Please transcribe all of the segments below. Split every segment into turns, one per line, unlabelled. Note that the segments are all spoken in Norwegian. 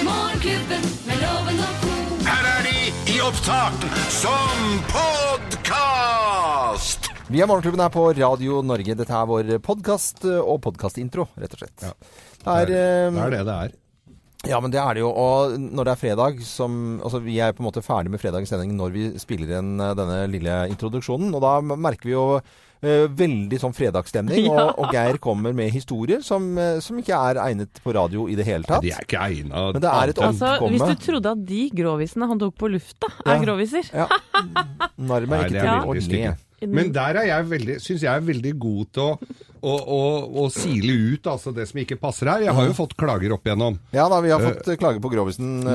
Morgenklubben med loven og ko.
Her er de i opptak som podkast!
Vi er Morgenklubben her på Radio Norge. Dette er vår podkast og podkastintro, rett og slett. Det er, eh,
Det er det det er.
Ja, men det er det jo. Og når det er fredag som Altså, vi er på en måte ferdig med fredagens sending når vi spiller inn eh, denne lille introduksjonen. Og da merker vi jo eh, veldig sånn fredagsstemning. Og, og Geir kommer med historier som, eh, som ikke er egnet på radio i det hele tatt.
De er ikke egna.
Men det er et
annet enn-
om-
Altså,
Komme.
Hvis du trodde at de grovisene han tok på lufta, er
Ja.
groviser
Ja. Narm
Nei,
er
det er
ikke til å
veldig
le.
stygt. Men
Mm.
der er jeg veldig, syns jeg er veldig god til å, å, å, å sile ut altså det som ikke passer her. Jeg har jo fått klager opp igjennom.
Ja da, vi har fått eh, klage på Grovisen eh,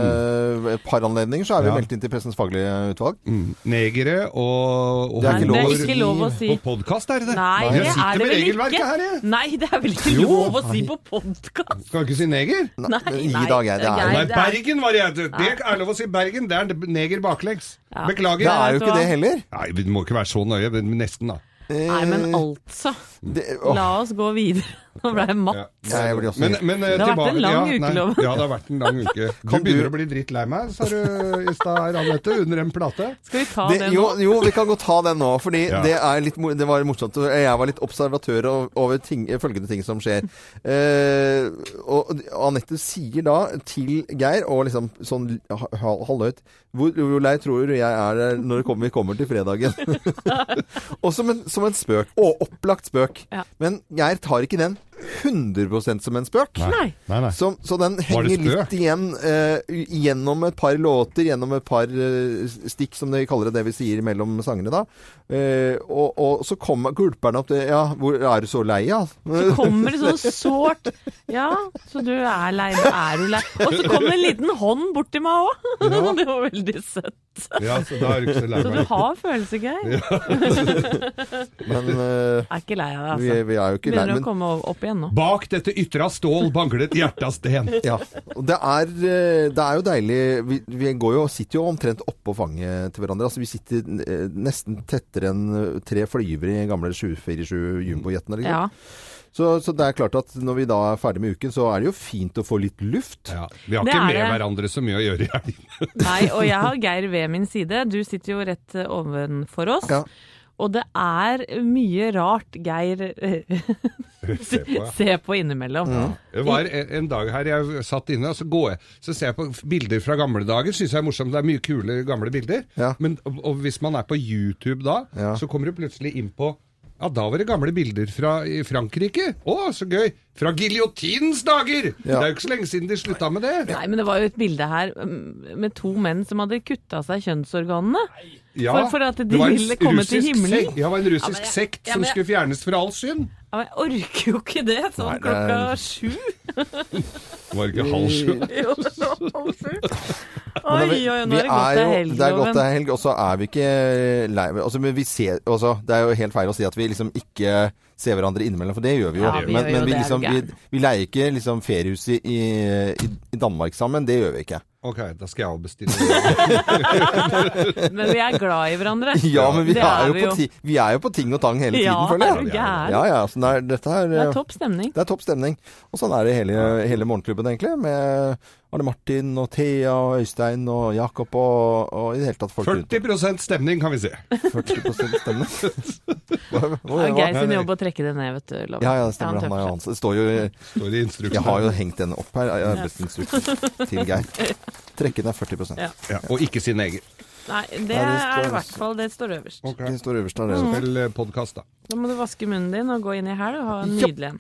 ved et par anledninger, så er vi
Ja.
meldt inn til Pressens faglige utvalg.
Mm. Negere og, og
Det er ikke
det
lov
er
å
ikke lov å si.
På podkast er det det.
Nei, det
jeg
er
sitter
det
med
vel
regelverket
ikke.
her, jeg.
Nei, det er vel ikke
Jo.
lov å si på podkast?
Skal du ikke si neger? Nei,
Nei,
Gi da, Geir, det er-
Geir,
Nei,
det er-
Bergen var jeg Det er lov å si Bergen. Det er neger baklengs.
Ja.
Det
Beklager.
er jo
vet du
ikke det
hva?
heller.
Nei, vi må ikke være så nøye, men nesten, da.
Nei, men altså.
Eh, Det, åh.
La oss gå videre. Nå ble
Ja.
jeg matt.
Ja, jeg blir også
Men,
litt-
men, eh,
Det har vært
tilbake-
en lang
ja, nei,
uke, Loven.
Ja, det har vært en lang uke. Du
Kan du-
begynner å bli drittlei meg, sa du i stad her, Anette, under en plate.
Skal vi ta
det,
det
jo,
nå?
jo, vi kan godt ta den nå, fordi
Ja.
det, er litt, mor- det var morsomt. og Jeg var litt observatør o- over ting, følgende ting som skjer. Eh, og Anette sier da til Geir, og liksom sånn ha- ha- halvhøyt hvor, hvor lei tror du jeg er når det kommer, vi kommer til fredagen? og som en, som en spøk. Og opplagt spøk.
Ja.
Men Geir tar ikke den 100 som en spøk.
Nei.
Nei, nei.
Så, så den henger
det spø?
litt igjen eh, gjennom et par låter, gjennom et par eh, stikk, som de kaller det, det vi sier mellom sangene, da. Eh, og, og så kommer gulper den opp til Ja, hvor er du så lei, ja?
Så kommer det sånn sårt Ja, så du er lei. Er du lei? Og så kom det en liten hånd borti meg òg. Det var veldig søtt.
Ja, så da er du ikke så lei
Så du
meg.
har følelser, Geir.
Men eh,
Er ikke lei av
vi,
det, altså.
vi er jo ikke lei.
Begynner å
Men
komme opp igjen nå.
Bak dette ytre av stål banglet hjertet av sten.
ja. Og det er, eh, det er jo deilig Vi, vi går jo og sitter jo omtrent oppå fanget til hverandre. Altså vi sitter eh, nesten tettere enn eh, tre flyvere i gamle 747 jumbojetene. liksom.
Ja.
Så, så det er klart at når vi da er ferdig med uken, så er det jo fint å få litt luft.
Ja, vi har
Det
ikke
er
med
det.
hverandre så mye å gjøre i helgen.
Nei, og jeg har Geir ved min side. Du sitter jo rett eh, ovenfor oss.
Ja.
Og det er mye rart Geir eh,
Se på, ja.
ser på innimellom.
Mm.
Det var en en dag her jeg satt inne, og så, går jeg, så ser jeg på bilder fra gamle dager. Syns jeg er morsomt. Det er mye kule gamle bilder.
Ja.
Men, og, og hvis man er på YouTube da,
Ja.
så kommer du plutselig inn på ja, da var det gamle bilder fra i Frankrike. Å, så gøy! Fra giljotinens dager! Det er jo ikke så lenge siden de slutta med det.
Nei, men det var jo et bilde her mm, med to menn som hadde kutta seg kjønnsorganene.
Ja,
For- for at de
det var en
ville komme til
russisk
himmelen.
Sekt, ja, det var en russisk
men jeg-
sekt
ja,
som
men jeg-
skulle fjernes fra all synd.
Ja, men jeg orker jo ikke det sånn
Nei, det er-
klokka sju.
Det var ikke halv sju.
Jo, det var halv sju.
Men
Oi,
det-
oi, oi,
vi
nå er det godt det er
jo-
helg,
Det er godt det
Loven.
er helg, og så er vi ikke lei altså, men vi ser, altså, Det er jo helt feil å si at vi liksom ikke ser hverandre innimellom, for det gjør vi jo.
Ja, vi
men
gjør
men
jo
vi,
det, er
liksom,
du
vi,
gæren.
vi leier ikke liksom, feriehuset i, i, i Danmark sammen. Det gjør vi ikke.
Ok, da skal jeg avbestille.
Men vi er glad i hverandre.
Ja, men vi,
Det
er, jo
vi
på ti, vi er jo på ting og tang hele tiden,
Ja,
føler
er
jeg.
du gæren?
Ja, ja, så det er, dette er,
Det er topp stemning.
Det er topp stemning. Og sånn er det hele, hele morgenklubben, egentlig. Med Arne Martin og Thea og Øystein og Jakob og, og i det hele tatt folk rundt.
40 stemning, kan vi si.
40 stemning.
Det er Geir sin
det-
jobb å trekke det ned, vet du, Loven.
Ja, ja, det stemmer. Han
tøffer
er
seg.
jo hans. Det står jo
Står det i instruksen.
Jeg har jo hengt den opp her i arbeidsinstruksen til Geir. Trekke ned 40
Ja.
Ja, og ikke sin egen.
Nei, det
det
er
står-
i hvert fall det står øverst.
Det står øverst der, det.
Vel eh, podcast da.
Da må du vaske munnen din og gå inn i helg og ha en
Ja.
nydelig en.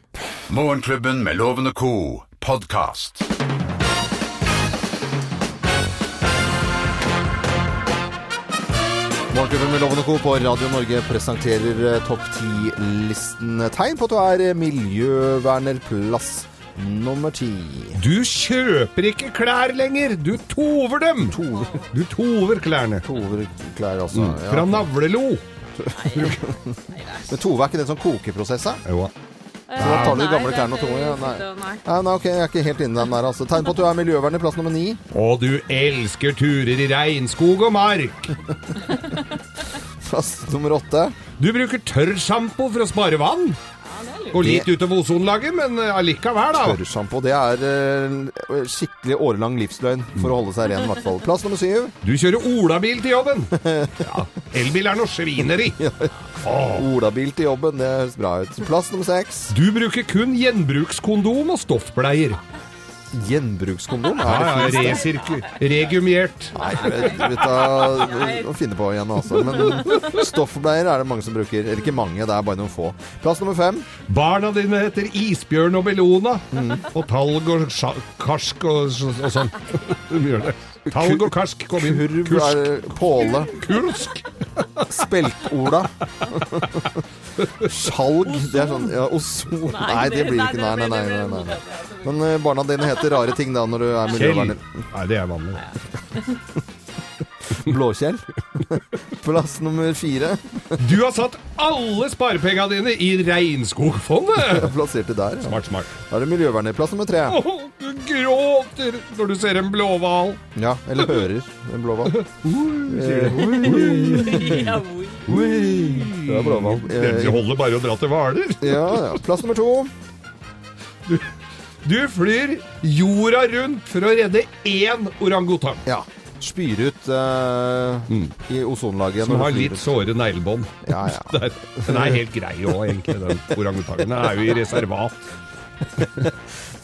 Morgenklubben med Loven og co. podkast.
Morgenklubben med Loven og Co. på Radio Norge presenterer eh, topp 10-listen. Tegn på at du er eh, miljøvernerplass nummer ti.
Du kjøper ikke klær lenger, du tover dem! Du tover klærne.
Hovedklær, altså. Ja.
Fra navlelo.
Men Tove er ikke den som koker prosessa?
Jo.
Så da tar du de
Nei,
gamle
det-
klærne og tunga? Ja,
det-
nei.
det- nei.
Nei, nei, ok, jeg er ikke helt inne den der, altså. Tegn på at du er miljøverner plass nummer ni.
Og du elsker turer i regnskog og mark.
Plass nummer åtte.
Du bruker tørrsjampo for å spare vann. Går litt utover ozonlaget, men eh, allikevel, da.
Tørrsjampo. Det er eh, skikkelig årelang livsløgn for å holde seg ren, i hvert fall. Plass nummer syv.
Du kjører olabil til jobben. Ja, elbil er noe svineri.
Olabil til jobben. Det høres bra ut. Plass nummer seks.
Du bruker kun gjenbrukskondom og stoffbleier.
Gjenbrukskondom.
Ja, ja,
Er det fint?
resirku- Regumiert.
Nei, jeg vet ikke å finne på igjen, altså. Men stoffbleier er det mange som bruker. Eller ikke mange, det er bare noen få. Plass nummer fem.
Barna dine heter Isbjørn og Bellona.
Mm.
Og Talg og sja- Karsk og, s- og sånn. De gjør det. Talg og Karsk kom inn.
Kurv er
Kursk.
påle.
Kursk.
Speltola. Skjalg. Det er sånn ja, Ozon. Nei, det blir ikke. Nei, nei, nei. nei, nei. Men eh, barna dine heter rare ting da når du er
Kjell.
miljøverner.
Nei, det er vanlig.
Blåkjell. Plass nummer fire.
Du har satt alle sparepengene dine i Regnskogfondet.
Plasserte der. Ja.
Smart, smart.
Da er det miljøverner. Plass nummer tre.
Åh, du gråter når du ser en blåhval.
Ja, eller hører en blåhval. Eh, Det er blåhval. Eh,
Mm. Det holder bare å dra til Hvaler.
Ja, ja. Plass nummer to.
Du flyr jorda rundt for å redde én orangutang
Ja. Spyr ut eh, i ozonlaget.
Mm. som
når
har
du flyr
litt
ut.
såre neglebånd.
Ja, ja.
Der. Den er helt grei òg, egentlig, den orangutangen. Den er jo i reservat.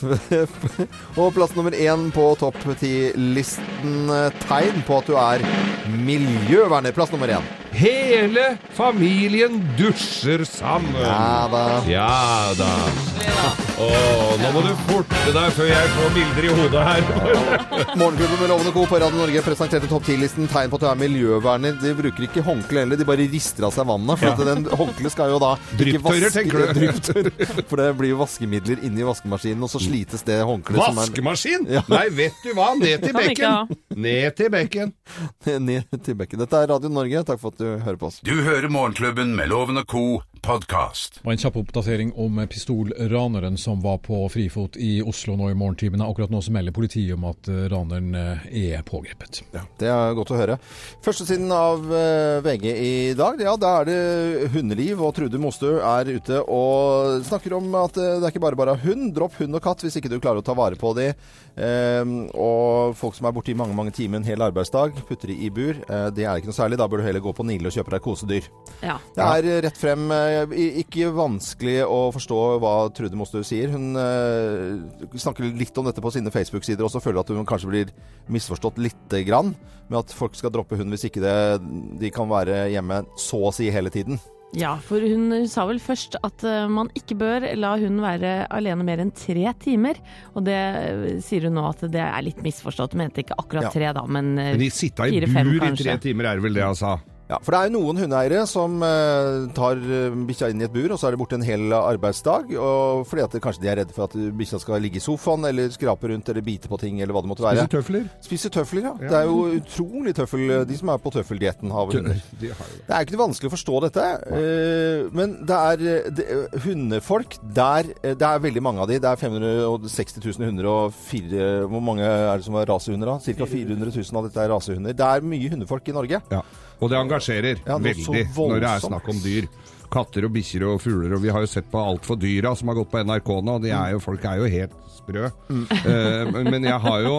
Og plass nummer én på topp ti-listen. eh, Tegn på at du er miljøverner. Plass nummer én.
Hele familien dusjer sammen.
Ja da.
Ja da. Åh, nå må du forte deg før jeg får bilder i hodet her.
Morgenklubben med Lovende Co. på Radio Norge presenterte topp 10-listen tegn på at du er miljøverner. De bruker ikke håndkle heller, de bare rister av seg vannet. For
Ja.
at den håndkle skal jo da ikke
Drypptørrer,
vaske-
tenker du?
Drypptørrer. For det blir jo vaskemidler inni vaskemaskinen, og så slites det håndkleet som er
Vaskemaskin? Nei, vet du hva? Ned til
Kan ikke ha.
bekken. Ned til bekken.
ned til bekken. Dette er Radio Norge, takk for at du hører på oss.
Du hører Morgenklubben med Loven og Co. podkast.
Og en kjapp oppdatering om pistolraneren som var på frifot i Oslo nå i morgentimene. Akkurat nå så melder politiet om at eh, raneren eh, er pågrepet.
Det er godt å høre. Førstesiden av eh, VG i dag, ja, da er det hundeliv. Og Trude Mostø er ute og snakker om at eh, det er ikke bare bare hund. Dropp hund og katt hvis ikke du klarer å ta vare på de. Eh, og folk som er borte i mange mange timer en hel arbeidsdag, putter de i bur. Eh, det er ikke noe særlig. Da bør du heller gå på Nile og kjøpe deg kosedyr.
Ja.
Det er eh, rett frem eh, i- ikke vanskelig å forstå hva Trude Mostø sier. Hun eh, snakker litt om dette på sine Facebook-sider, og så føler at hun kanskje blir misforstått lite grann. Med at folk skal droppe hund hvis ikke det, de kan være hjemme så å si hele tiden.
Ja, for hun sa vel først at eh, man ikke bør la hunden være alene mer enn tre timer. Og det eh, sier hun nå at det er litt misforstått. Hun mente ikke
Ja.
akkurat tre, da, men eh,
De sitta i
Fire-fem,
bur i
kanskje.
tre timer, er det vel det han sa?
Ja, For det er jo noen hundeeiere som eh, tar eh, bikkja inn i et bur, og så er det borte en hel arbeidsdag. Og fordi at det, kanskje de er redde for at bikkja skal ligge i sofaen, eller skrape rundt, eller bite på ting, eller hva det måtte være.
Disse tøfler.
Spiser tøfler, ja. Det er jo utrolig tøffel, de som er på tøffeldietten har hunder.
De har jo det.
Det er ikke noe vanskelig å forstå dette, eh, men det er eh, det, hundefolk der eh, Det er veldig mange av de. Det er 560 000 hunder og fire Hvor mange er det som er rasehunder, da? Ca. 400 000 av dette er rasehunder. Det er mye hundefolk i Norge.
Ja. Og det engasjerer
Ja, noe så
veldig når det er
voldsomt.
snakk om dyr. Katter og bikkjer og fugler, og vi har jo sett på alt for dyra som har gått på NRK nå, og de er jo, folk er jo helt sprø. Eh, men men jeg, har jo,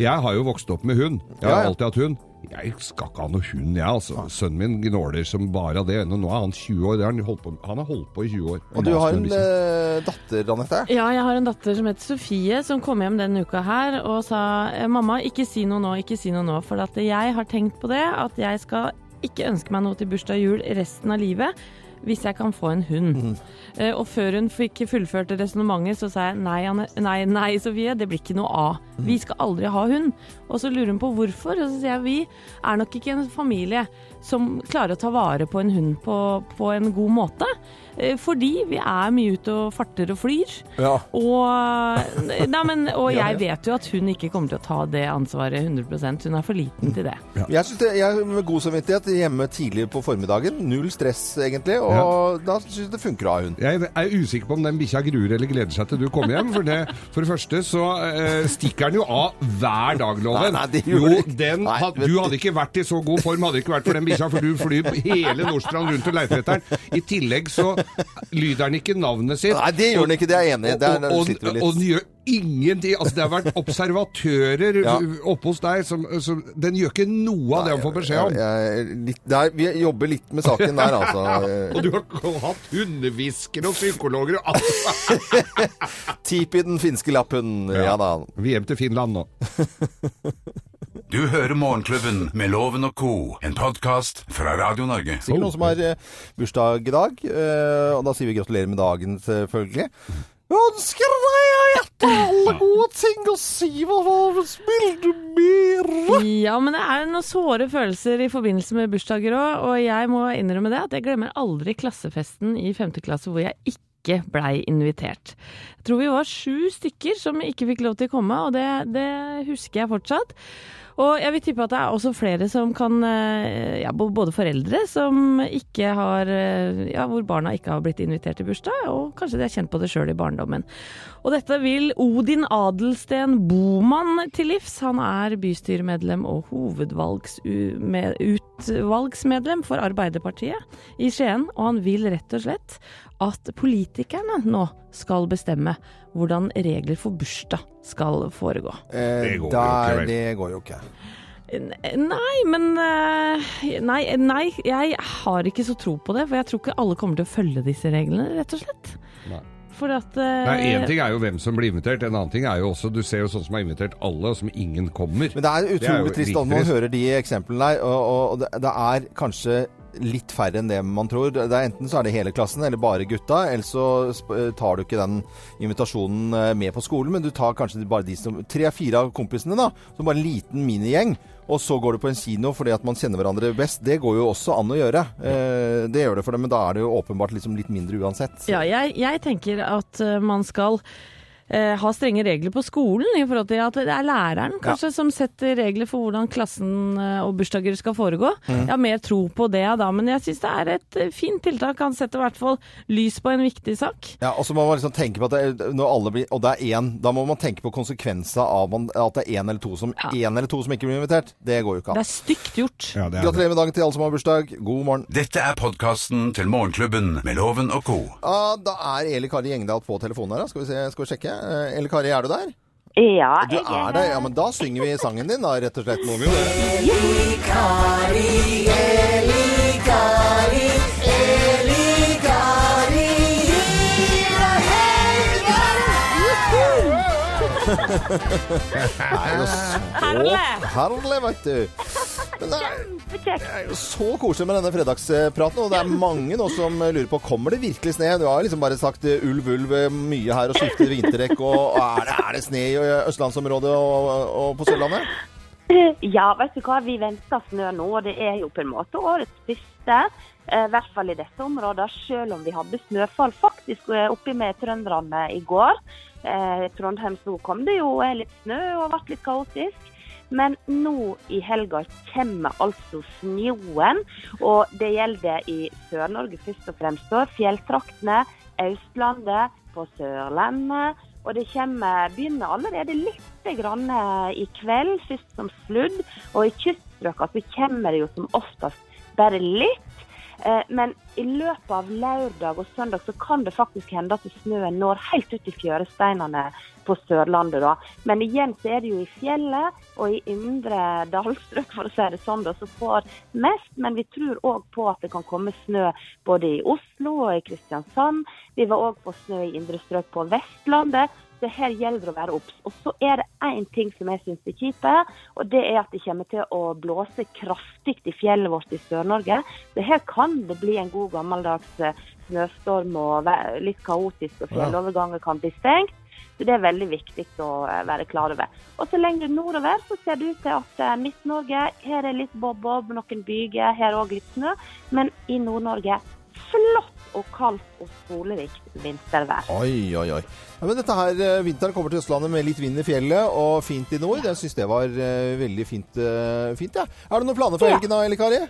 jeg har jo vokst opp med hund. Jeg
Ja,
har
ja.
alltid hatt hund. Jeg skal ikke ha noe hund, jeg. altså. Sønnen min gnåler som bare av det. Nå er han 20 år. Det har han, holdt på, han har holdt på i 20 år.
Og du
Mas
har
med
en
bikkjer.
eh, datter, Anette.
Ja, jeg har en datter som heter Sofie, som kom hjem denne uka her og sa "Eh, mamma, ikke si noe nå, ikke si noe nå. For at jeg har tenkt på det, at jeg skal ikke ønske meg noe til bursdag og jul resten av livet. Hvis jeg kan få en hund. Eh, og før hun fikk fullført resonnementet, så sa jeg nei, Anne, nei, nei, Sofie, det blir ikke noe av. Vi skal aldri ha hund. Og så lurer hun på hvorfor, og så sier jeg vi er nok ikke en familie som klarer å ta vare på en hund på, på en god måte. Eh, fordi vi er mye ute og farter og flyr.
Ja.
Og, nei, men, og
Ja, ja.
jeg vet jo at hun ikke kommer til å ta det ansvaret 100 Hun er for liten til det.
Jeg synes det, jeg er med god samvittighet hjemme tidlig på formiddagen. Null stress, egentlig. Og da syns jeg det funker å ha hund.
Jeg er usikker på om den bikkja gruer eller gleder seg til du kommer hjem. For det, for det første så eh, stikker den jo av hver dag, Loven.
Nei, nei, det
jo,
gjorde den ikke.
den,
Nei,
had,
vet
du
du.
hadde ikke vært i så god form hadde det ikke vært for den bikkja, for du flyr hele Nordstrand rundt og leter etter den. I tillegg så lyder han ikke navnet sitt.
Nei, det gjør han ikke, det er jeg enig i. Der- der
og,
sitter vi
og,
litt.
og den gjør ingenting. Altså, det har vært observatører
Ja.
oppe hos deg som, som Den gjør ikke noe av det han får beskjed om.
Jeg er litt, der, vi jobber litt med saken der, altså.
Og du har k- hatt hundehviskere og psykologer og alt.
Tip i den finske lappen. Ja, da.
Vi er hjem til Finland nå.
Du hører Morgenklubben med Loven og co., en podkast fra Radio Norge.
Sikkert noen som har eh, bursdag i dag. eh, Og da sier vi gratulerer med dagen, selvfølgelig. Jeg ønsker deg av hjertet alle gode ting og si hva vil du mer?
Ja, men det er noen såre følelser i forbindelse med bursdager òg, og jeg må innrømme det at jeg glemmer aldri klassefesten i femte klasse hvor jeg ikke blei invitert. Jeg tror vi var sju stykker som ikke fikk lov til å komme, og det, det husker jeg fortsatt. Og jeg vil tippe at det er også flere som kan eh, ja, bo- Både foreldre som ikke har eh, Ja, hvor barna ikke har blitt invitert til bursdag, og kanskje de har kjent på det sjøl i barndommen. Og dette vil Odin Adelsten Boman til livs. Han er bystyremedlem og hovedutvalgsmedlem for Arbeiderpartiet i Skien. Og han vil rett og slett at politikerne nå skal bestemme hvordan regler for bursdag skal foregå.
Eh,
Det går jo ikke,
der,
vel.
det går jo ikke.
Nei, men eh, nei, nei, jeg har ikke så tro på det. For jeg tror ikke alle kommer til å følge disse reglene, rett og slett.
Nei.
For at eh,
Nei, En ting er jo hvem som blir invitert, en annen ting er jo også Du ser jo sånn som har invitert alle, og som ingen kommer.
Men det er
Det er jo
utrolig trist om man
drittrist.
hører de eksemplene der, og, og- og det, det er kanskje litt færre enn det man tror. Det er enten så er det hele klassen, eller bare gutta, eller så sp- eh, tar du ikke den invitasjonen eh, med på skolen, men du tar kanskje bare de som Tre-fire av kompisene, da, som bare en liten minigjeng. Og så går du på en kino fordi at man kjenner hverandre best. Det går jo også an å gjøre. Eh, det gjør det for dem, men da er det jo åpenbart liksom litt mindre uansett.
Ja, jeg, jeg tenker at eh, man skal eh, ha strenge regler på skolen i forhold til at det er læreren kanskje som setter regler for hvordan klassen eh, og bursdager skal foregå.
Mm.
Jeg har mer tro på det da, men jeg syns det er et eh, fint tiltak. Han setter i hvert fall lys på en viktig sak.
Ja, og så må man liksom tenke på at det, er- når alle blir, og det er én, da må man tenke på konsekvenser av man, at det er én eller to som
Ja.
én eller to som ikke blir invitert. Det går jo ikke
Det
an.
er stygt gjort.
Ja, det er det.
Gratulerer med dagen til alle som har bursdag. God morgen.
Dette er podkasten til Morgenklubben med Loven og co.
Ah, da er Eli Kari Gjengdal på telefonen her. da. Skal vi, se, skal vi sjekke. Eh, Eli Kari, er du der?
Ja,
Du er der. Ja, men da synger vi sangen din, da, rett og slett. Må vi jo det.
Herlig!
Herlig, vet du. Men det er
kjempekjekt.
det er jo så koselig med denne fredagspraten, og det er mange nå som lurer på kommer det virkelig sne. Du har jo liksom bare sagt eh, ulv, ulv eh, mye her, og skifter vinterdekk, og er det, er det sne i eh, østlandsområdet og, og på Sørlandet?
Ja, vet du hva, vi venter snø nå, og det er jo på en måte årets første. eh, I hvert fall i dette området, selv om vi hadde snøfall faktisk eh, oppi med trønderne i går. Eh, Trondheim så kom det jo eh, litt snø og ble litt kaotisk. Men nå i helga kommer altså snøen, og det gjelder i Sør-Norge først og fremst. da. Fjelltraktene, Østlandet, på Sørlandet. Og det kommer, begynner allerede litt grann eh, i kveld, først som sludd. Og i kyststrøkene så kommer det jo som oftest bare litt. Eh, Men i løpet av lørdag og søndag så kan det faktisk hende at snøen når helt ut i fjøresteinene på Sørlandet. da. Men igjen så er det jo i fjellet og i indre dalstrøk, for å si det sånn, da, som får mest. Men vi tror òg på at det kan komme snø både i Oslo og i Kristiansand. Vi var òg på snø i indre strøk på Vestlandet. Så her gjelder det å være obs. Og så er det én ting som jeg syns er kjipt, og det er at det kommer til å blåse kraftig i fjellet vårt i Sør-Norge. Så her kan det bli en god gammeldags eh, snøstorm og vær- litt kaotisk, og fjelloverganger kan bli stengt. Så det er veldig viktig å eh, være klar over. Og så lenger nordover så ser det ut til at eh, Midt-Norge, her er litt bob-bob, noen byger, her òg litt snø. Men i Nord-Norge flott og kaldt og solrikt vintervær.
Oi, oi, oi. Ja, men dette her, eh, Vinteren kommer til Østlandet med litt vind i fjellet og fint i nord. Jeg syns det var eh, veldig fint. eh, fint ja. Er det noen planer for
Ja.
helgen da, Eli Kari?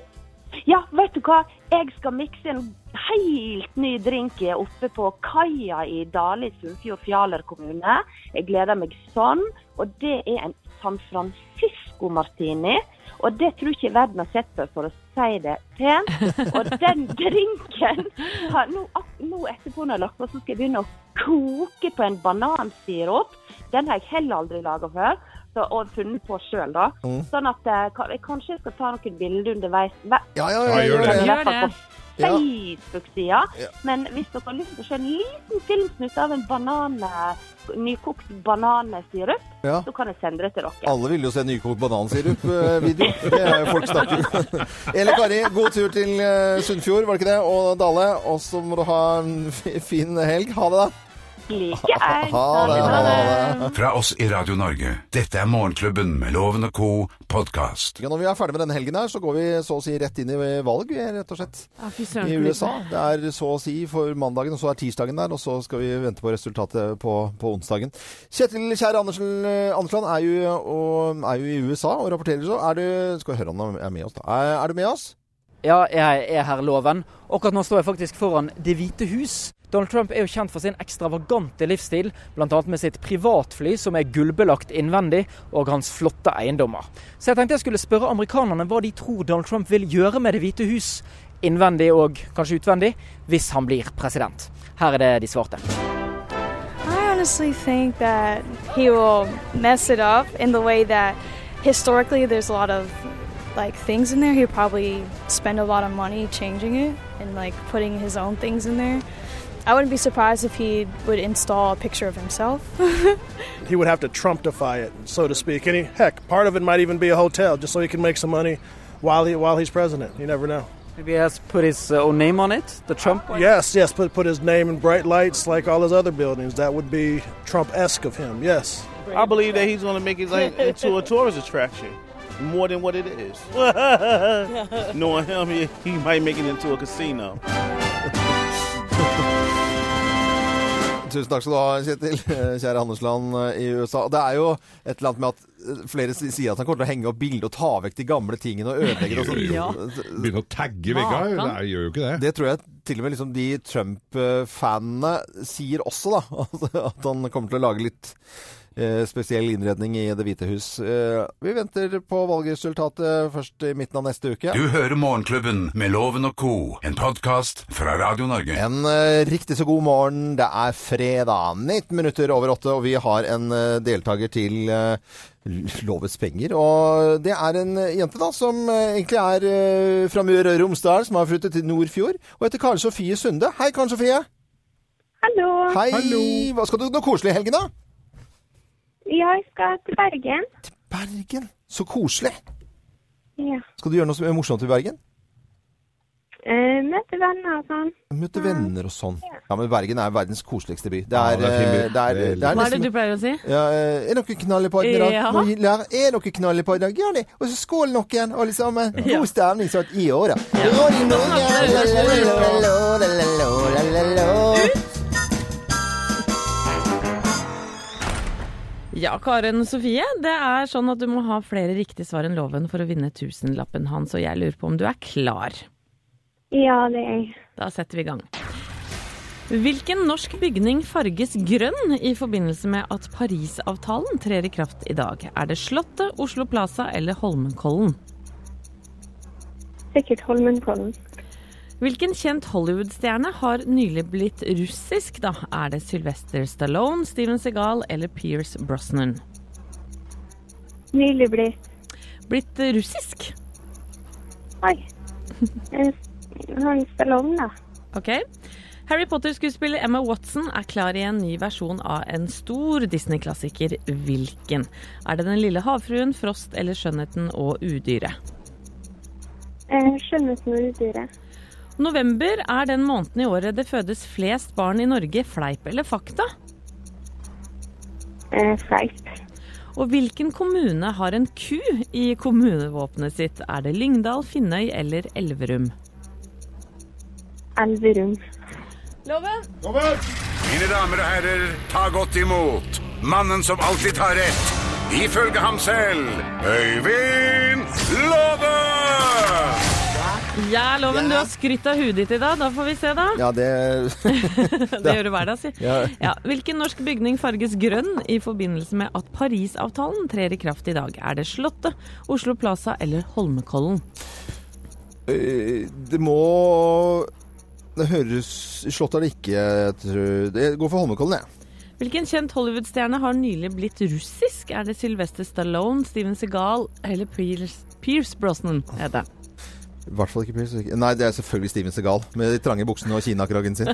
Ja, vet du hva? Jeg skal mikse en helt ny drink oppe på kaia i Dale i Sunnfjord Fjaler kommune. Jeg gleder meg sånn. Og det er en San Francisco Fresco-martini. Og det tror ikke verden har sett før, for å si det pent. Og den drinken har, nå, ak- nå etterpå når jeg har lagt på, så skal jeg begynne å koke på en banansirup. Den har jeg heller aldri laga før, så, og funnet på sjøl, da. Sånn at eh, ka- jeg kanskje skal ta noen bilder underveis. Hver,
Ja, ja,
Ja,
ja,
gjør
gjør
det.
det.
i hvert fall
Gjør det.
på
Ja.
Facebook-sida.
Ja.
Men hvis dere har lyst til å se en liten filmsnutt av en banan, nykokt banansirup,
Ja.
så kan jeg sende det til dere.
Alle vil jo se nykokt banansirup-video. Det er jo folk snakker om. Eller Kari, god tur til eh, Sunnfjord, var det ikke det? Og Dale. Og så må du ha en fi- fin helg. Ha det, da.
Like ei.
Ha det, ha det.
Fra oss i Radio Norge. Dette er Morgenklubben med Loven og co. podkast.
Ja, Når vi er ferdig med denne helgen her, så går vi så å si rett inn i valg, vi, rett og slett.
Ja, fy søren,
I
så mye.
USA. Det er så å si for mandagen, og så er tirsdagen der, og så skal vi vente på resultatet på, på onsdagen. Kjetil Kjær Andersen, eh, Andersland er jo, og, er jo i USA og rapporterer så. Er du Skal vi høre om han er med oss, da. Er, er du med oss?
Ja, jeg er her, loven. Akkurat nå står jeg faktisk foran Det hvite hus. Donald Trump er jo kjent for sin ekstravagante livsstil, bl.a. med sitt privatfly som er gullbelagt innvendig, og hans flotte eiendommer. Så jeg tenkte jeg skulle spørre amerikanerne hva de tror Donald Trump vil gjøre med Det hvite hus, innvendig og kanskje utvendig, hvis han blir president. Her er det de svarte.
I honestly think that he will mess it up in the way that historically there's a lot of like things in there. He'll probably spend a lot of money changing it and like putting his own things in there. I wouldn't be surprised if he would install a picture of himself.
he would have to Trumpify it, so to speak. And he, heck, part of it might even be a hotel, just so he can make some money while he while he's president. You never know.
Maybe he has put his own name on it, the Trump
Yes, yes, put put his name in bright lights like all his other buildings. That would be Trump-esque of him. Yes.
I believe that he's going to make his lane into a tourist attraction more than what it is. Knowing him, he, he might make it into a casino.
Tusen takk skal du ha, Kjetil. Kjære Andersland eh, i USA. Og Det er jo et eller annet med at eh, flere si- sier at han kommer til å henge opp bilder og ta vekk de gamle tingene og ødelegge det og sånn.
Ja.
Begynne å tagge veggene?
Makan.
Nei, gjør jo ikke det.
Det tror jeg til og med liksom de Trump-fanene sier også, da. Altså, At han kommer til å lage litt eh, spesiell innredning i Det hvite hus. Eh, vi venter på valgresultatet først i midten av neste uke.
Du hører Morgenklubben med Loven og co., en podkast fra Radio Norge.
En eh, riktig så god morgen. Det er fredag, 19 minutter over åtte, og vi har en eh, deltaker til eh, Lovets penger. Og det er en eh, jente da, som eh, egentlig er eh, fra Møre og Romsdal, som har flyttet til Nordfjord, og heter Karen Sofie Sunde. Hei, Karen Sofie.
Hallo.
Hei. Hva skal du noe koselig i helgen, da?
Jeg skal til Bergen.
Bergen. Så koselig.
Ja.
Skal du gjøre noe som er morsomt i Bergen?
Eh, møte venner og sånn.
Møte venner og sånn. Ja, men Bergen er verdens koseligste by. Det
Ja,
er,
det er fin by.
eh, det er, det er,
Veldig.
Hva er
nesten-
det du pleier å si?
Ja, eh, er dere knall på i dag?
Ja.
Må gi lære- Er dere knall på i dag? Ja, det. Og så skål noen, alle sammen. God stemning sånn i året. Radio Norge, lalalala, lalalala, lalalala.
Ja, Karen Sofie. Det er sånn at du må ha flere riktige svar enn loven for å vinne tusenlappen hans, og jeg lurer på om du er klar.
Ja, det er jeg.
Da setter vi i gang. Hvilken norsk bygning farges grønn i forbindelse med at Parisavtalen trer i kraft i dag? Er det Slottet, Oslo Plaza eller Holmenkollen?
Sikkert Holmenkollen.
Hvilken kjent Hollywood-stjerne har nylig blitt russisk, da? Er det Sylvester Stallone, Steven Segal eller Pierce Brosnan?
Nylig blitt.
Blitt russisk?
Oi. Eh, Han Stallone, da.
Ok. Harry Potter-skuespiller Emma Watson er klar i en ny versjon av en stor Disney-klassiker. Hvilken? Er det Den lille havfruen, Frost eller Skjønnheten og udyret?
Eh, Skjønnheten og udyret.
November er den måneden i året det fødes flest barn i Norge, fleip eller fakta?
Eh, Fleip.
Og hvilken kommune har en ku i kommunevåpenet sitt? Er det Lyngdal, Finnøy eller Elverum?
Elverum.
Loven!
Mine damer og herrer, ta godt imot mannen som alltid tar rett, ifølge ham selv, Øyvind Låve!
Ja, Loven, du har skrytt av huet ditt i dag. Da får vi se, da.
Ja, det
det gjør du hver dag, si. Ja.
Ja.
Hvilken norsk bygning farges grønn i forbindelse med at Parisavtalen trer i kraft i dag? Er det Slottet, Oslo Plaza eller Holmenkollen?
Eh, Det må Det høres Slottet er det ikke, jeg tror Jeg går for Holmenkollen, jeg.
Hvilken kjent Hollywood-stjerne har nylig blitt russisk? Er det Sylvester Stallone, Steven Segal eller Pierce, Pierce Brosnan? Er det.
I hvert fall ikke Pierce. ikke- Nei, det er selvfølgelig Steven Segal med de trange buksene og kinakragen sin.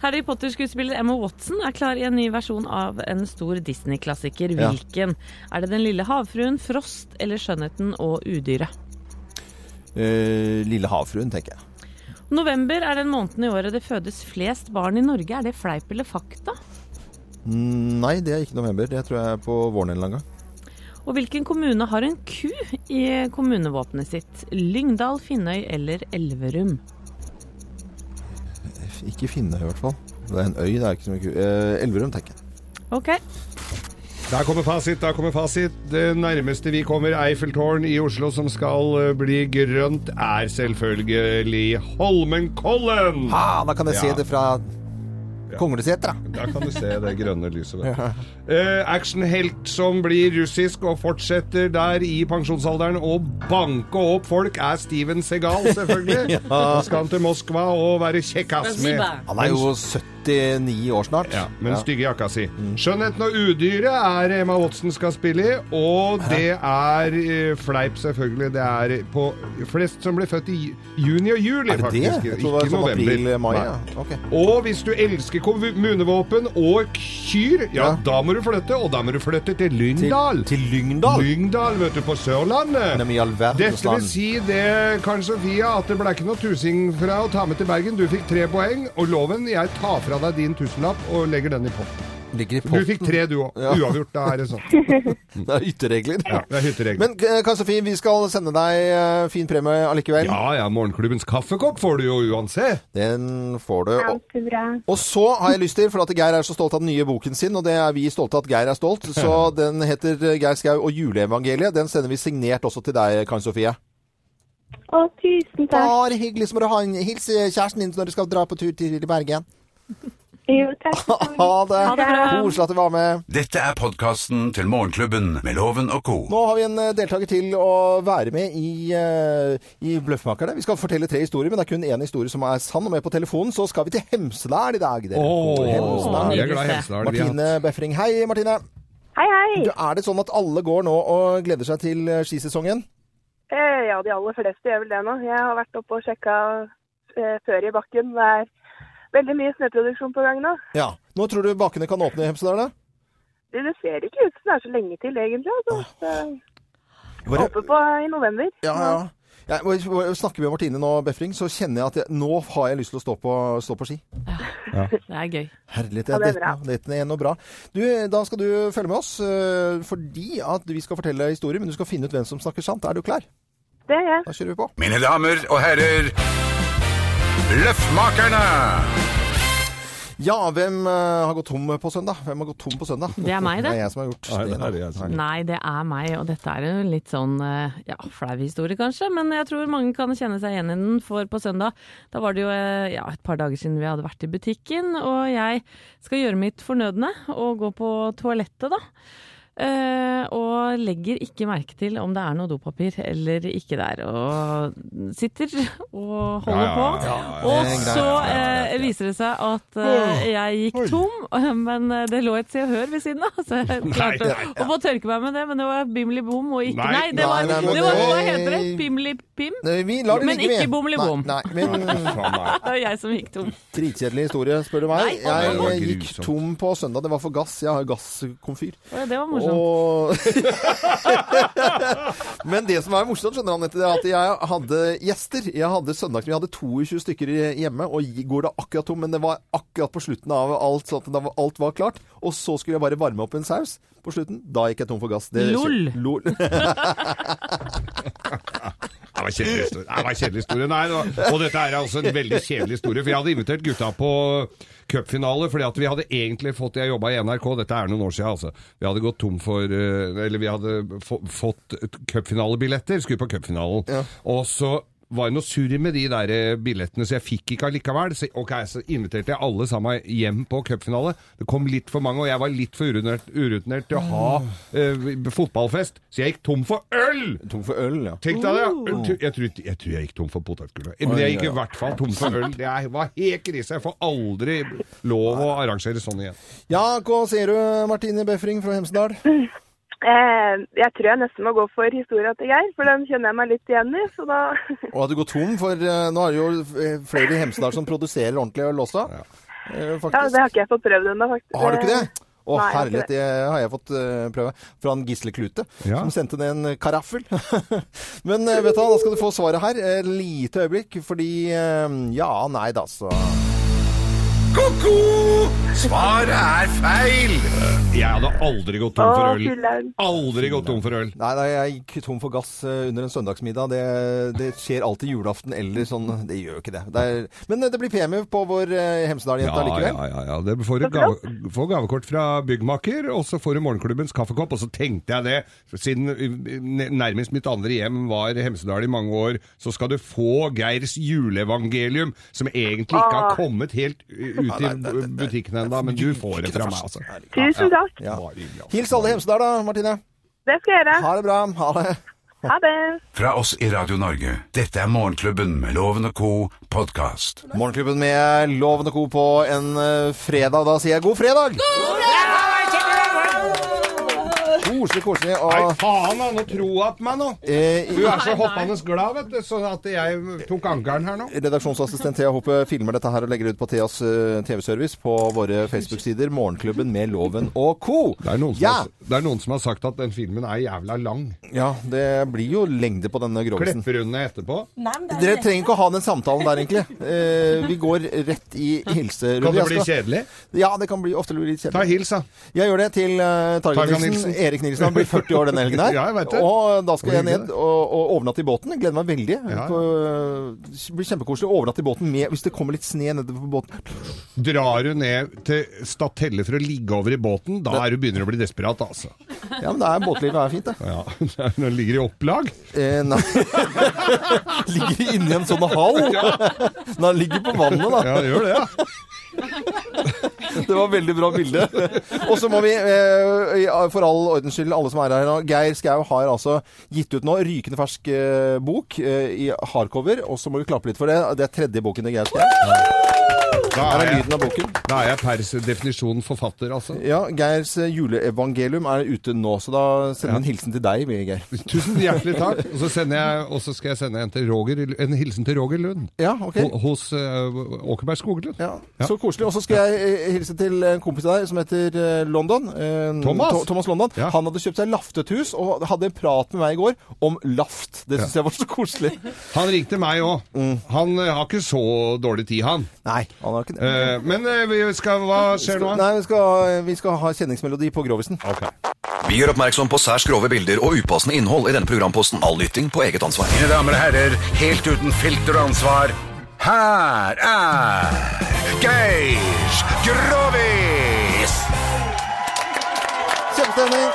Harry Potter-skuespiller Emma Watson er klar i en ny versjon av en stor Disney-klassiker.
Ja.
Hvilken? Er det Den lille havfruen, Frost eller Skjønnheten og udyret?
Eh, Lille havfruen, tenker jeg.
November er den måneden i året det fødes flest barn i Norge. Er det fleip eller fakta?
Mm, Nei, det er ikke november. Det tror jeg er på våren en eller annen gang.
Og hvilken kommune har en ku i kommunevåpenet sitt? Lyngdal, Finnøy eller Elverum?
Ikke Finnøy, i hvert fall. Det er en øy, det er ikke så mye ku- eh, Elverum, tenker jeg.
Ok.
Der kommer fasit, der kommer fasit. Det nærmeste vi kommer Eiffeltårn i Oslo som skal eh, bli grønt, er selvfølgelig Holmenkollen.
Ha, da kan jeg se
Ja.
det fra Konglesetra.
Da kan du se det grønne lyset der. Eh, actionhelt som blir russisk og fortsetter der i pensjonsalderen å banke opp folk, er Steven Segal, selvfølgelig.
Ja.
Så skal han til Moskva og være kjekkas med.
Han er jo 79 år snart.
Ja, med den stygge jakka si.
Mm.
Skjønnheten og udyret er Emma Watson skal spille i, og det er eh, fleip, selvfølgelig. Det er på flest som ble født i juni og juli,
Er det det?
faktisk.
Jeg
Ikke
tror det var sånn
november.
april, mai.
Nei.
Ja. Ok.
Og hvis du elsker kommunevåpen og kyr, ja,
Ja.
da må du flytte, og da må du flytte til Lyngdal.
Til, til Lyngdal?
Lyngdal, vet du, på Sørlandet.
Men i all verdens
Dette vil
land.
si det, Karen Sofia, at det ble ikke noe tusing fra å ta med til Bergen. Du fikk tre poeng, og loven, jeg tar fra deg din tusenlapp og legger den i potten.
Ligger i
Du
potten.
fikk tre, du òg.
Ja.
Uavgjort, da er det sånn.
Det er ytterregler.
Ja, det er hytteregler.
Men eh, Karen Sofie, vi skal sende deg eh, fin premie allikevel.
Ja ja, morgenklubbens kaffekopp får du jo uansett.
Den får du. Og, og så har jeg lyst til, for at Geir er så stolt av den nye boken sin, og det er vi stolte av at Geir er stolt, så den heter eh, Geir Skau og juleevangeliet. Den sender vi signert også til deg, Karen Sofie.
Å, tusen takk.
Bare hyggelig. Så må du ha en hils kjæresten din når du skal dra på tur til Bergen.
Jo, takk.
Ha det.
Ha det bra.
Koselig at du var med.
Dette er podkasten til Morgenklubben med Loven og co.
Nå har vi en eh, deltaker til å være med i, eh, i Bløffmakerne. Vi skal fortelle tre historier, men det er kun én historie som er sann. Og med på telefonen så skal vi til Hemsedal i dag. dere. Hemsedal.
vi er glad i Hemsedal. vi,
Martine
ja.
Befring. Hei, Martine.
Hei, hei.
Du, er det sånn at alle går nå og gleder seg til eh, skisesongen?
Eh, ja, de aller fleste gjør vel det nå. Jeg har vært oppe og sjekka eh, før i bakken. Det er veldig mye snøproduksjon på gang nå.
Ja. Nå tror du bakene kan åpne i Hemsedal? da?
Det, det ser ikke ut som det er så lenge til, egentlig. Altså. Så,
Bare-
håper på i november.
Ja, ja. Jeg må- må- må snakke med Martine nå, Befring, så kjenner jeg at jeg, nå har jeg lyst til å stå på, stå på ski.
Det er gøy.
Herlighet,
Ja, det er
dette,
bra.
dette er noe bra. Du, da skal du følge med oss, eh, fordi at vi skal fortelle historier, men du skal finne ut hvem som snakker sant. Er du klar?
Det er jeg.
Da kjører vi på.
Mine damer og herrer, Løffmakerne!
Ja, hvem eh, har gått tom på søndag? Hvem har gått tom på søndag?
Det er meg, det.
Det er jeg som har gjort
Nei,
det.
det er det jeg som-
Nei, det er meg, og dette er en litt sånn eh, ja, flau historie kanskje, men jeg tror mange kan kjenne seg igjen i den, for på søndag da var det jo eh, ja, et par dager siden vi hadde vært i butikken, og jeg skal gjøre mitt fornødne og gå på toalettet da. Eh, og legger ikke merke til om det er noe dopapir eller ikke der. Og sitter og holder
Ja, ja, ja, ja, ja.
på.
Det
Og
er greit,
så
ja, ja,
eh,
ja, ja.
viser det seg at eh, jeg gikk tom, men eh, det lå et Se og Hør ved siden av. Så jeg klarte
nei,
å få tørke meg med det, men det var Bimli Bom og ikke
Nei,
Nei, det var,
nei, nei, men
det var hva
det-
heter det? Bimli Pim?
Nei, Eh, Vi lar det
Men
ligge med.
ikke bommelibom.
Nei, nei, men
Faen, nei.
Det var jeg som gikk tom.
dritkjedelig historie, spør du meg.
Nei,
det var
Jeg eh, gikk
grusomt.
tom på søndag. Det var for gass. Jeg har gasskomfyr.
Og det var morsomt.
Og... Men det som er morsomt, skjønner han, etter det, at jeg hadde gjester. Jeg hadde søndag, vi hadde 22 stykker i- hjemme, og i går det akkurat tom, men det var akkurat på slutten av alt, sånn at da var- alt var klart. Og så skulle jeg bare varme opp en saus på slutten. Da gikk jeg tom for gass. Det-
Lol.
Lol.
Det var en kjedelig historie. Nei, det var en kjedelig historie. Nei, det var, og dette er altså en veldig kjedelig historie, for jeg hadde invitert gutta på cupfinale, fordi at vi hadde egentlig fått Jeg jobba i NRK, dette er noen år siden, altså. Vi hadde gått tom for eh, Eller vi hadde få, fått cupfinalebilletter, skulle på cupfinalen. Og så var jo noe surr med de der eh, billettene, så jeg fikk ikke allikevel. Så, ok, så inviterte jeg alle sammen hjem på cupfinale. Det kom litt for mange, og jeg var litt for urutinert, urutinert til å ha eh, fotballfest, så jeg gikk tom for øl!
Tom for øl, ja.
Tenk deg det! ja. Jeg tror, ikke- jeg tror jeg gikk tom for potetgull. Men jeg gikk i hvert fall tom for øl. Det er- var helt krise. Jeg får aldri lov å arrangere sånn igjen.
Ja, hva sier du, Martine Befring fra Hemsedal?
Eh, jeg tror jeg nesten må gå for historia til Geir, for den kjenner jeg meg litt igjen i. Så da
Og at du går tom, for eh, nå er det jo eh, flere i Hemsedal som produserer ordentlig øl også. Eh,
Ja,
faktisk.
det har ikke jeg fått prøvd ennå, faktisk.
Har du ikke det?
Nei, jeg
Å,
har ikke
herlighet,
det.
det har jeg fått eh, prøve. Fra en Gisle Klute, som sendte ned en karaffel. Men eh, vet du hva, da skal du få svaret her. Et lite øyeblikk, fordi eh, Ja, nei da, så
Ko-ko! Svaret er feil!
Jeg hadde aldri gått tom for øl. Aldri gått tom for øl.
Nei, nei, jeg gikk tom for gass eh, under en søndagsmiddag. Det, det skjer alltid julaften eller sånn. Det gjør jo ikke det. det er, men eh, det blir premie på vår eh, Hemsedal-jente
Ja,
likevel.
ja, ja, ja. Det får du gave, får gavekort fra byggmaker, og så får du morgenklubbens kaffekopp. Og så tenkte jeg det, siden eh, nærmest mitt andre hjem var Hemsedal i mange år, så skal du få Geirs juleevangelium, som egentlig ikke har
Åh.
kommet helt eh, ut i butikken ennå, men du får det fra meg, altså.
Tusen takk.
Ja. Bare hyggelig, altså.
Hils alle i Hemsedal, da, Martine.
Det skal jeg gjøre.
Ha det bra. Ha det.
Ha det.
Fra oss i Radio Norge, dette er Morgenklubben med Loven og Co. podkast.
Morgenklubben med Loven og Co. på en eh, fredag. Da sier jeg god fredag! Koselig, koselig.
Nei,
Og
faen, han, nå tro at meg nå!
Eh,
Du er så hoppende glad, vet du, sånn at jeg tok ankeren her nå.
redaksjonsassistent Thea Hope filmer dette her og legger det ut på Theas eh, TV-service på våre Facebook-sider. Morgenklubben med Loven og Co.
Det er, noen som
Ja.
har, det er noen som har sagt at den filmen er jævla lang.
Ja, det blir jo lengde på denne grovisen.
Klepper hun ned etterpå?
Dere trenger ikke å ha den samtalen der, egentlig. Eh, vi går rett i hilserunden.
Kan det
Jeg
bli
skal-
kjedelig?
Ja, det kan bli ofte litt kjedelig.
Ta hils, da.
Jeg gjør det til uh, Tarjei
Tarjei
Nilsen.
Nilsen.
Erik Nilsen han blir 40 år denne helgen her.
Ja, jeg vet det.
Og da skal
Det var
jeg ned
hyggelig,
og, og overnatte i båten. Jeg gleder meg veldig.
Ja.
På, det blir kjempekoselig å overnatte i båten med, hvis det kommer litt sne nedover på båten.
Drar du ned til Statelle for å ligge over i båten, da er du begynner å bli desperat, altså.
Ja, men det er båtlivet er fint, det.
Ja, Når du ligger i opplag.
Eh, nei. ligger inni en sånn hall. Nei, han ligger på vannet, da.
Ja, gjør det, ja.
Det var et veldig bra bilde. Og så må vi, eh, i- for all ordens skyld, alle som er her nå Geir Skau har altså gitt ut nå rykende fersk eh, bok eh, i hardcover, og så må vi klappe litt for det. Det er tredje boken til Geir Skau.
Da
Her er
jeg-
lyden av boken.
Da er jeg per definisjon forfatter, altså.
Ja, Geirs eh, juleevangelium er ute nå, så da sender vi en hilsen til deg, vi, Geir.
Tusen hjertelig takk. Og så, sender jeg, og så skal jeg sende en, til Roger, en hilsen til Roger Lund.
Ja, ok.
Ho- Hos øh, Åkerberg Skoglund. Ja.
Så koselig. Og så skal jeg eh, hilse til en kompis av deg som heter eh, London. Eh,
Thomas.
Tho- Thomas London. Han hadde kjøpt seg laftetthus og hadde en prat med meg i går om laft. Det syns jeg var så koselig.
Han ringte meg òg. Han øh, har ikke så dårlig tid, han.
Nei, han har ikke det.
Eh, men øh, vi skal, hva skjer nå?
Nei, vi skal, vi skal ha kjenningsmelodi på Grovisen.
Vi gjør oppmerksom på særs grove bilder og upassende innhold i denne programposten. All lytting på eget ansvar.
Mine damer og herrer, helt uten filter og ansvar, her er Geir Grovis!
Kjempestemning!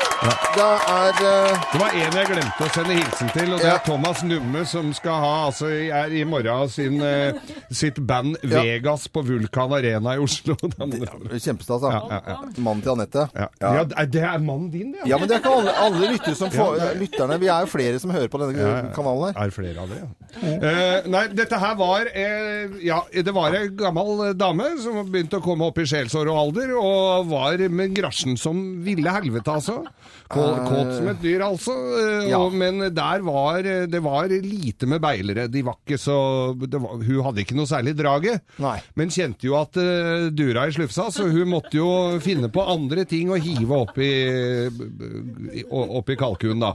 Da er eh,
Det var en jeg glemte å sende hilsen til, og det er Thomas Numme, som skal ha altså, er i morgen sin, eh, sitt band
Ja.
Vegas på Vulkan Arena i Oslo. Da må du-
eh, Kjempestas, da.
Ja, ja,
Mannen til Anette. Ja.
Ja, er- det er mannen din, det.
Ja, men det er ikke alle, alle lyttere som får,
Ja, det er-
lytterne. Vi er jo flere som hører på denne
Ja, ja.
kanalen her.
Er det flere av dere, ja. Eh, nei, dette her var eh, Ja, det var ei gammel eh, dame som begynte å komme opp i sjelsår og alder, og var med grasjen som ville helvete, altså. Kåt,
Eh.
kåt som et dyr, altså. Eh,
Ja.
og, men der var eh, det var lite med beilere. De var ikke så det var, Hun hadde ikke noe særlig draget.
Nei.
Men kjente jo at eh, dura i slufsa, så hun måtte jo finne på andre ting å hive opp i, i, opp i kalkunen, da.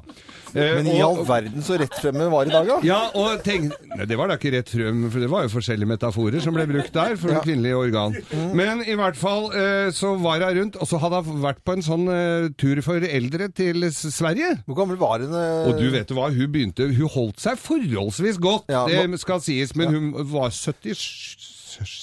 Eh,
Men i
og-
all verden så rett fremme var i dag, da.
ja, og tenk, nei, Det var da ikke rett frem, for det var jo forskjellige metaforer som ble brukt der for
Ja. Mm.
kvinnelige organ. Men i hvert fall eh, så var hun rundt, og så hadde hun vært på en sånn eh, tur for eldre til S- Sverige.
Hvor gammel var hun? eh?
Og du vet du hva, hun begynte, hun holdt seg forholdsvis godt,
Ja, nå-
det skal sies, men hun var 77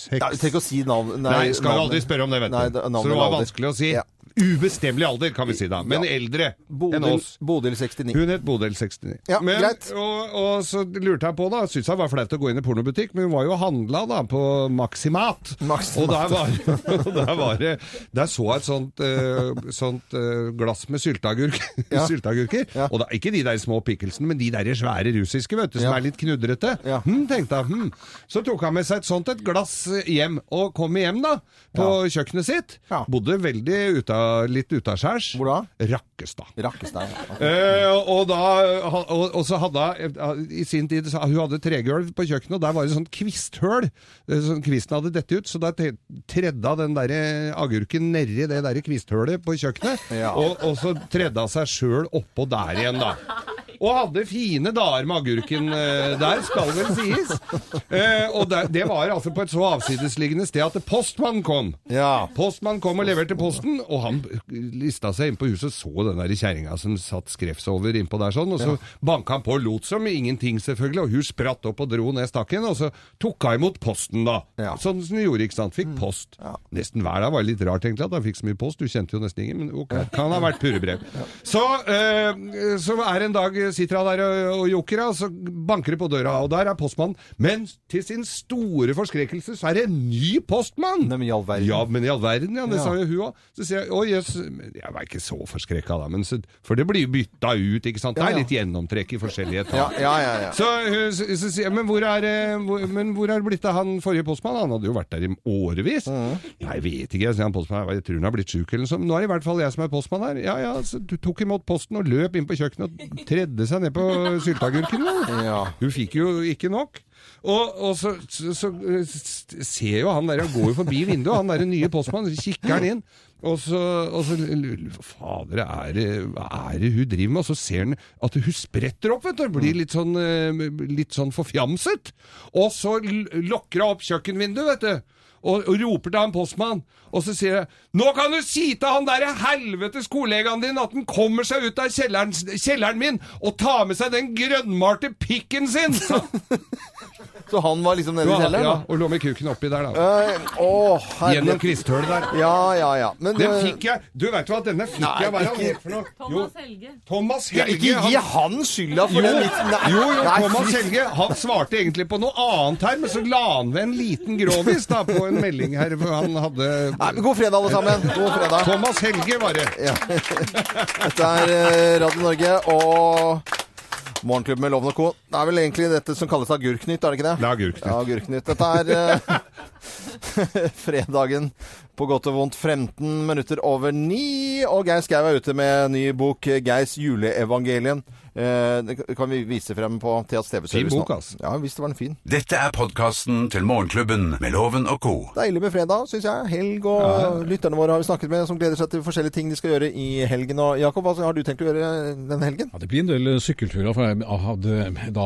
Nei, Trenger ikke å si navn.
Nei, skal jo aldri spørre om det, vet du.
Nei, da- navnet
så det var
og alder.
vanskelig å si.
Ja.
ubestemmelig alder, kan vi si da. Men
Ja.
eldre enn
Bodil-
oss.
Bodil 69.
Hun het Bodil 69.
Ja,
men,
greit.
Og, og så lurte jeg på, da. Syntes jeg var flaut å gå inn i pornobutikk, men hun var jo og handla da, på Maximat. Og der var, og der var det Der så jeg et sånt, eh, sånt eh, glass med sylteagurk, sylteagurker. Og da, ikke de der små pickelsene, men de der svære russiske, vet du, som
Ja.
er litt knudrete. Hm, tenkte jeg. Hm. Så tok han med seg et sånt et glass hjem, og kom hjem, da. På kjøkkenet sitt. Bodde veldig uta, litt utaskjærs. Hvor da? Rakkestad.
Rakkestad, ja.
Eh, og, da, og, og så hadde hun eh, i sin tid så- Hun hadde tregulv på kjøkkenet, og der var det sånn kvisthøl. Eh, Sånn, kvisten hadde dette ut, så da te- tredda den der eh, agurken nedi det der kvisthølet på kjøkkenet. Og, og så tredda seg sjøl oppå der igjen, da. Og hadde fine dager med agurken eh, der, skal vel sies. Eh, og det, det var altså på et så avsidesliggende sted at postmannen kom. Postmannen kom og leverte posten, og han lista seg inn på huset, så den der kjerringa som satt skrevs over innpå der sånn, og så
Ja.
banka han på og lot som ingenting, selvfølgelig, og hun spratt opp og dro ned stakken, og så tok hun imot posten, da. Sånn som hun gjorde, ikke sant. Fikk post. Nesten hver dag var det litt rart, egentlig, at han fikk så mye post. Du kjente jo nesten ingen, men ok, kan ha vært purrebrev. Så, eh, så er det en dag sitter han der og, og joker, og så banker det på døra, og der er postmannen. Men til sin store forskrekkelse så er det en ny postmann! men i all verden. Ja, men i all verden, ja. Det
Ja.
sa jo hun òg. Så sier jeg å jøss men Jeg var ikke så forskrekka da, men så, for det blir jo bytta ut, ikke sant. Det
Ja,
er
ja.
litt gjennomtrekk i forskjellige etasjer.
Ja, ja, ja, ja.
Så hun så, så sier jeg, men hvor er eh, hvor, Men hvor er det blitt av han forrige postmann? Han hadde jo vært der i årevis.
Mm.
Nei, jeg vet ikke, sier han postmannen. Jeg tror hun har blitt sjuk eller noe sånt. Nå er det i hvert fall jeg som er postmann her. Ja ja, så du tok imot posten og løp inn på kjøkkenet og tredde seg ned på sylteagurken. da. Hun fikk jo ikke nok. Og, og så, så, så eh, s- ser jo han der, han går jo forbi vinduet, han der nye postmannen, så kikker han inn. Og så, og så lurer jeg, Fader, er det, hva er det hun driver med? Og så ser han at hun spretter opp, vet du. Blir litt sånn, eh, litt sånn forfjamset. Og så l- lokker hun opp kjøkkenvinduet, vet du. Og, og roper til han postmann. Og så sier jeg Nå kan du si til han derre helvetes kollegaen din at han kommer seg ut av kjelleren, kjelleren min og tar med seg den grønnmalte pikken sin! sa han.
Så han var liksom nede i
Ja,
kjelleren?
ja,
da?
og lå med kuken oppi der, da.
Eh, å, herre-
Gjennom kvisthølet der.
Ja, ja, ja. Men,
Den
eh,
fikk jeg Du vet hva, denne fikk
Nei,
jeg hva er han
ikke-
het for noe? Thomas Helge. Thomas
Ja,
Helge
ikke gi han skylda for
jo,
den vitsen. Nei.
Jo, jo,
Nei,
Thomas
fy-
Helge han svarte egentlig på noe annet her, men så la han ved en liten grovis da, på en melding her. For han hadde
Nei, men God fredag, alle sammen. God fredag.
Thomas Helge, var det.
Ja. Dette er eh, Radio Norge og Morgenklubben med Loven og Co. Det er vel egentlig dette som kalles Agurknytt, er det ikke det?
Det er Agurknytt.
Ja, agurknytt. Dette er eh, fredagen på godt og vondt 15 minutter over ni. Og Geir Skau er ute med ny bok, eh, 'Geirs juleevangelien'. Eh, Det kan vi vise frem på Theas TV-service
Fin bok,
nå.
altså.
Ja, hvis det var en fin.
Dette er podkasten til Morgenklubben med Loven og co.
Deilig med fredag, syns jeg. Helg og lytterne våre har vi snakket med, som gleder seg til forskjellige ting de skal gjøre i helgen. Og Jakob, hva har du tenkt å gjøre denne helgen?
Ja, det blir en del eh, sykkelturer, for jeg hadde eh, da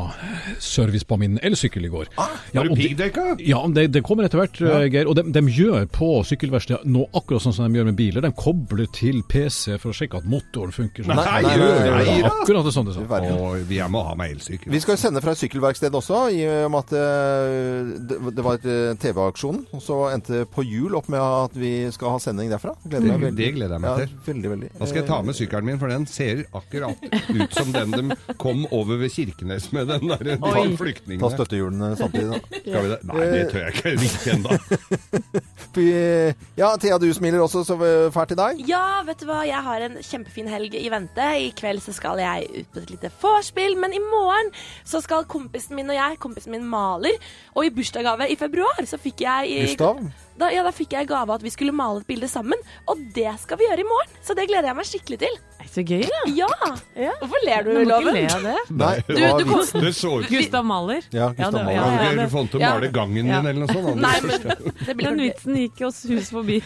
service på min elsykkel i går. ja,
Ah, var det
og
piggdekka?
Ja, det, det kommer etter hvert,
Ja.
eh, Geir. Og de, de gjør på sykkelverkstedet nå akkurat sånn som de gjør med biler. De kobler til PC for å sjekke at motoren funker.
Nei,
Sånn.
nei,
gjør
nei,
det,
nei,
da.
da.
Akkurat det sånn det
verden.
sånn.
Og vi- jeg må ha meg elsykkel.
Vi skal jo sende fra et sykkelverksted også, i og med at eh, det, det var et eh, TV-aksjon. Og så endte på jul opp med at vi skal ha sending derfra. Gleder
Det,
meg veldig.
det gleder jeg meg
Ja,
til.
veldig, veldig.
Da skal jeg ta med sykkelen min, for den ser akkurat ut som den de kom over ved Kirkenes med, den der de
Oi.
flyktningene.
Ta støttehjulene samtidig, da.
Skal vi det? Nei, det tør jeg ikke riktig ennå.
Vi- Ja, Thea, du smiler også så eh, fælt i dag.
Ja, vet du hva, jeg har en kjempefin helg i vente. I kveld så skal jeg ut på et lite vorspiel, men i morgen så skal kompisen min og jeg, kompisen min maler, og i bursdagsgave i februar så fikk jeg i,
Gustav?
Da, ja, da fikk jeg i gave at vi skulle male et bilde sammen, og det skal vi gjøre i morgen. Så det gleder jeg meg skikkelig til.
Så gøy, da.
Ja! Hvorfor ler du,
Du må ikke
Loven?
le av det.
Nei,
Du,
du kom-
det så ikke
Gustav Mahler.
Ja,
Ja,
Gustav
det-
Mahler.
ja, ja,
Kan
det-
du få han til å
ja.
male gangen
Ja.
din eller noe sånt?
Nei,
men
Det blir
Den vitsen gikk oss hus forbi.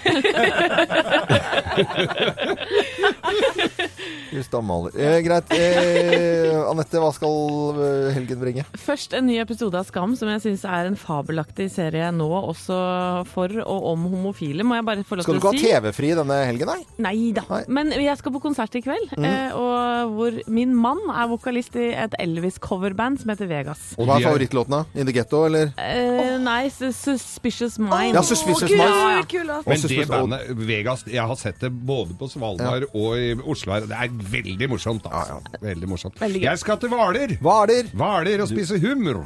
Gustav Mahler. Eh, greit. Eh, Anette, hva skal eh, helgen bringe?
Først en ny episode av Skam, som jeg syns er en fabelaktig serie nå, også for og om homofile, må jeg bare få lov
Skal du
til å
ikke
si.
ha TV-fri denne helgen, nei?
Nei da. Men jeg skal på konsert i kveld,
Mhm.
eh, og hvor min mann er vokalist i et Elvis-coverband som heter Vegas.
Og Hva er favorittlåtene? In the Ghetto, eller?
Eh, nei, Sus- Suspicious Mind.
Ja, Suspicious Gud, Minds.
Ja, ja.
Men det bandet, Vegas, jeg har sett det både på Svalbard og i Oslo. her, og Det er veldig morsomt. Altså. Veldig morsomt.
Veldig gøy.
Jeg skal til Hvaler.
Hvaler
og spise hummer.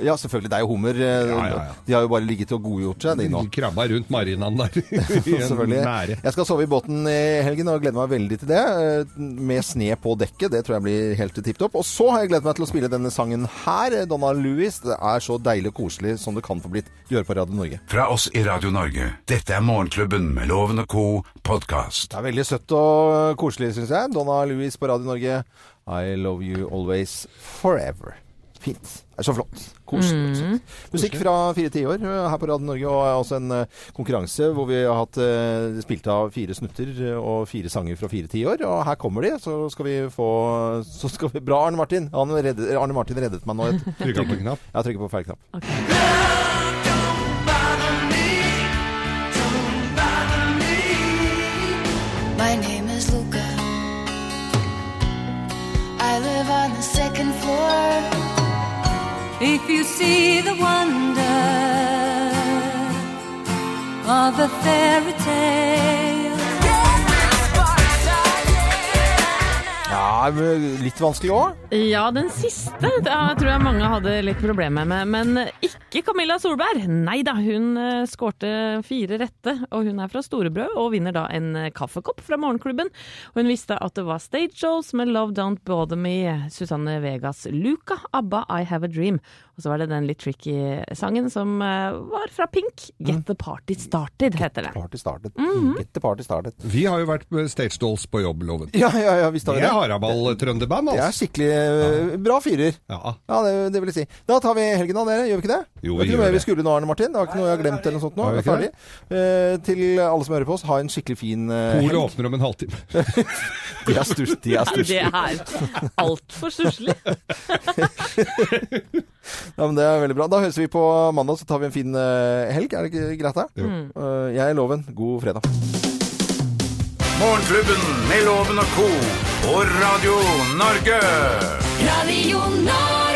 ja, selvfølgelig. Det er jo hummer. eh, De har jo bare ligget og godgjort seg, de nå.
Krabba rundt marinaen der. I en
Selvfølgelig.
mære.
Jeg skal sove i båten i helgen og gleder meg veldig til det. eh, Med sne på dekket. Det tror jeg blir helt tipp topp. Og så har jeg gledet meg til å spille denne sangen her. Donna Louis. Det er så deilig og koselig som det kan få blitt. Du hører på Radio Norge.
Fra oss i Radio Norge. Dette er Morgenklubben med Loven og co. podkast.
Det er veldig søtt og koselig, syns jeg. Donna Louis på Radio Norge. I love you always forever. Fint. Det er så flott. Koselig. og søtt. Musikk fra fire tiår eh, her på Radio Norge, og er også en eh, konkurranse hvor vi har hatt eh, spilt av fire snutter eh, og fire sanger fra fire tiår. Og her kommer de, så skal vi få så skal vi, Bra, Arne Martin. Han redde, Arne Martin reddet meg nå.
Trykket på knapp?
Ja, trykket på feil knapp.
My name is Luca. I live on the second floor. If you see the wonder of a fairy tale.
Ja, men litt vanskelig òg.
Ja, den siste da tror jeg mange hadde litt problemer med. Men ikke Camilla Solberg. Nei da, hun eh, skårte fire rette, og hun er fra Storebrød og vinner da en eh, kaffekopp fra morgenklubben. Og hun visste at det var Stage Shows med Love Don't Bother Me, Susanne Vegas Luca, ABBA I Have a Dream. Og så var det den litt tricky sangen som eh, var fra Pink, Get the Party Started, heter det.
Party started. Get the party started.
Vi har jo vært med Stage Dolls på jobb, Loven.
Ja, ja, ja, visst har vi
det.
det.
er Haraball-trønderband, altså.
Det er skikkelig eh, bra fyrer.
Ja.
Ja, det, det vil jeg si. Da tar vi helgen da, dere. Gjør vi ikke det?
Jo, vi
det er ikke noe
gjør
mer vi
det.
skulle nå, Arne Martin. Det var ikke noe jeg har glemt eller noe sånt nå.
Har vi
Vi er ferdig. Eh, til alle som hører på oss, ha en skikkelig fin eh,
Polet
helg.
åpner om en halvtime.
De er sturs- de er sturs-
Det er altfor stusslig.
Ja, men det er veldig bra. Da høres vi på mandag, så tar vi en fin eh, helg. Er det ikke greit, da?
Jo.
Eh, jeg er Loven. God fredag.
Morgenklubben med Loven og co. på Radio Norge.
Radio Norge.